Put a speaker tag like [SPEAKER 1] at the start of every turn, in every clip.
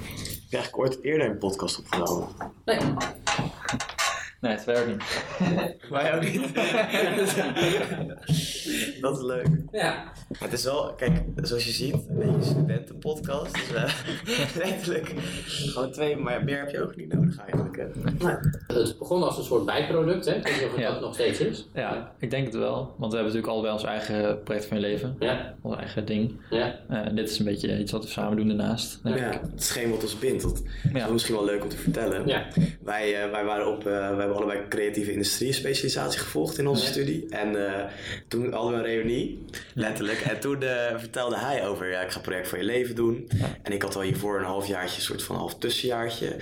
[SPEAKER 1] Heb je eigenlijk ooit eerder een podcast opgenomen?
[SPEAKER 2] Nee,
[SPEAKER 3] Nee, het werkt niet.
[SPEAKER 1] Wij ook niet. dat is leuk.
[SPEAKER 2] ja.
[SPEAKER 1] Maar het is wel, kijk, zoals je ziet, een beetje een studentenpodcast. Dus eh, letterlijk gewoon twee, maar meer heb je ook niet nodig eigenlijk. hè.
[SPEAKER 2] Het begon als een soort bijproduct, hè? Ik weet niet of het
[SPEAKER 3] Ja.
[SPEAKER 2] dat nog steeds is.
[SPEAKER 3] Ja, ik denk het wel. Want we hebben natuurlijk allebei ons eigen project van je leven.
[SPEAKER 2] Ja,
[SPEAKER 3] Ons eigen ding.
[SPEAKER 2] ja.
[SPEAKER 3] Eh, dit is een beetje iets wat we samen doen daarnaast. denk ik.
[SPEAKER 1] Ja, het is geen wat ons bindt. Dat is
[SPEAKER 3] Ja.
[SPEAKER 1] misschien wel leuk om te vertellen.
[SPEAKER 2] Ja.
[SPEAKER 1] Wij, eh, wij, waren op, eh, wij hebben allebei creatieve industrie specialisatie gevolgd in onze
[SPEAKER 2] Ja.
[SPEAKER 1] studie. En eh, toen hadden we een reunie, letterlijk. En toen eh, vertelde hij over, ja, ik ga project voor je leven doen. En ik had al hiervoor een halfjaartje, een soort van half tussenjaartje.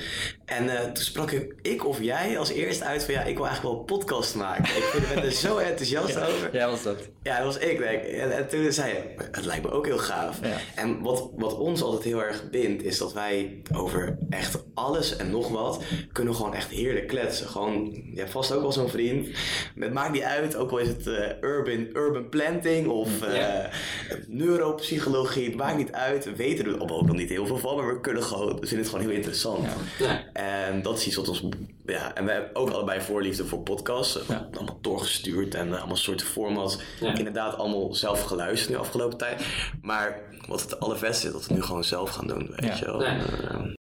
[SPEAKER 1] En eh, toen sprak ik, ik of jij als eerst uit van, ja, ik wil eigenlijk wel een podcast maken. ik ben er zo enthousiast over.
[SPEAKER 3] Jij was dat.
[SPEAKER 1] Ja, dat was ik, denk ik. En, en toen zei je, het lijkt me ook heel gaaf.
[SPEAKER 3] Ja.
[SPEAKER 1] En wat, wat ons altijd heel erg bindt, is dat wij over echt alles en nog wat kunnen gewoon echt heerlijk kletsen. Gewoon, je hebt vast ook wel zo'n vriend. Het maakt niet uit, ook al is het eh, urban, urban planting of eh,
[SPEAKER 2] Ja.
[SPEAKER 1] neuropsychologie. Het maakt niet uit. We weten er ook nog niet heel veel van, maar we kunnen gewoon, we vinden het gewoon heel interessant.
[SPEAKER 2] Ja.
[SPEAKER 1] En dat is iets wat ons. Ja, en we hebben ook allebei voorliefde voor podcasts. Eh,
[SPEAKER 3] Ja.
[SPEAKER 1] Allemaal doorgestuurd en eh, allemaal soorten formats.
[SPEAKER 2] Ja.
[SPEAKER 1] Inderdaad, allemaal zelf geluisterd nu de afgelopen tijd. Maar wat het allerbeste is, dat we het nu gewoon zelf gaan doen. Weet
[SPEAKER 3] Ja.
[SPEAKER 1] je wel.
[SPEAKER 2] Ja.
[SPEAKER 1] Eh,